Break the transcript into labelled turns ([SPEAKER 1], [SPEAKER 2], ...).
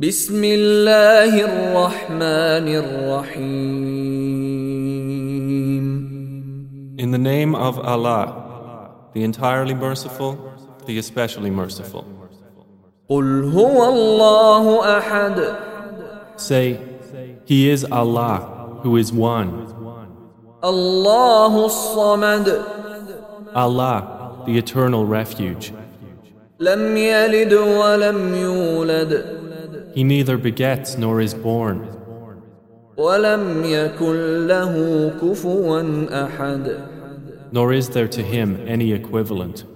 [SPEAKER 1] بسم الله الرحمن الرحيم
[SPEAKER 2] In the name of Allah, the entirely merciful, the especially merciful.
[SPEAKER 1] قل هو الله احد
[SPEAKER 2] Say, He is Allah, who is one.
[SPEAKER 1] الله الصمد
[SPEAKER 2] Allah, the eternal refuge.
[SPEAKER 1] لم يلد ولم يولد
[SPEAKER 2] He neither begets nor is born,
[SPEAKER 1] ولم يكن له كفوا احد
[SPEAKER 2] nor is there to Him any equivalent.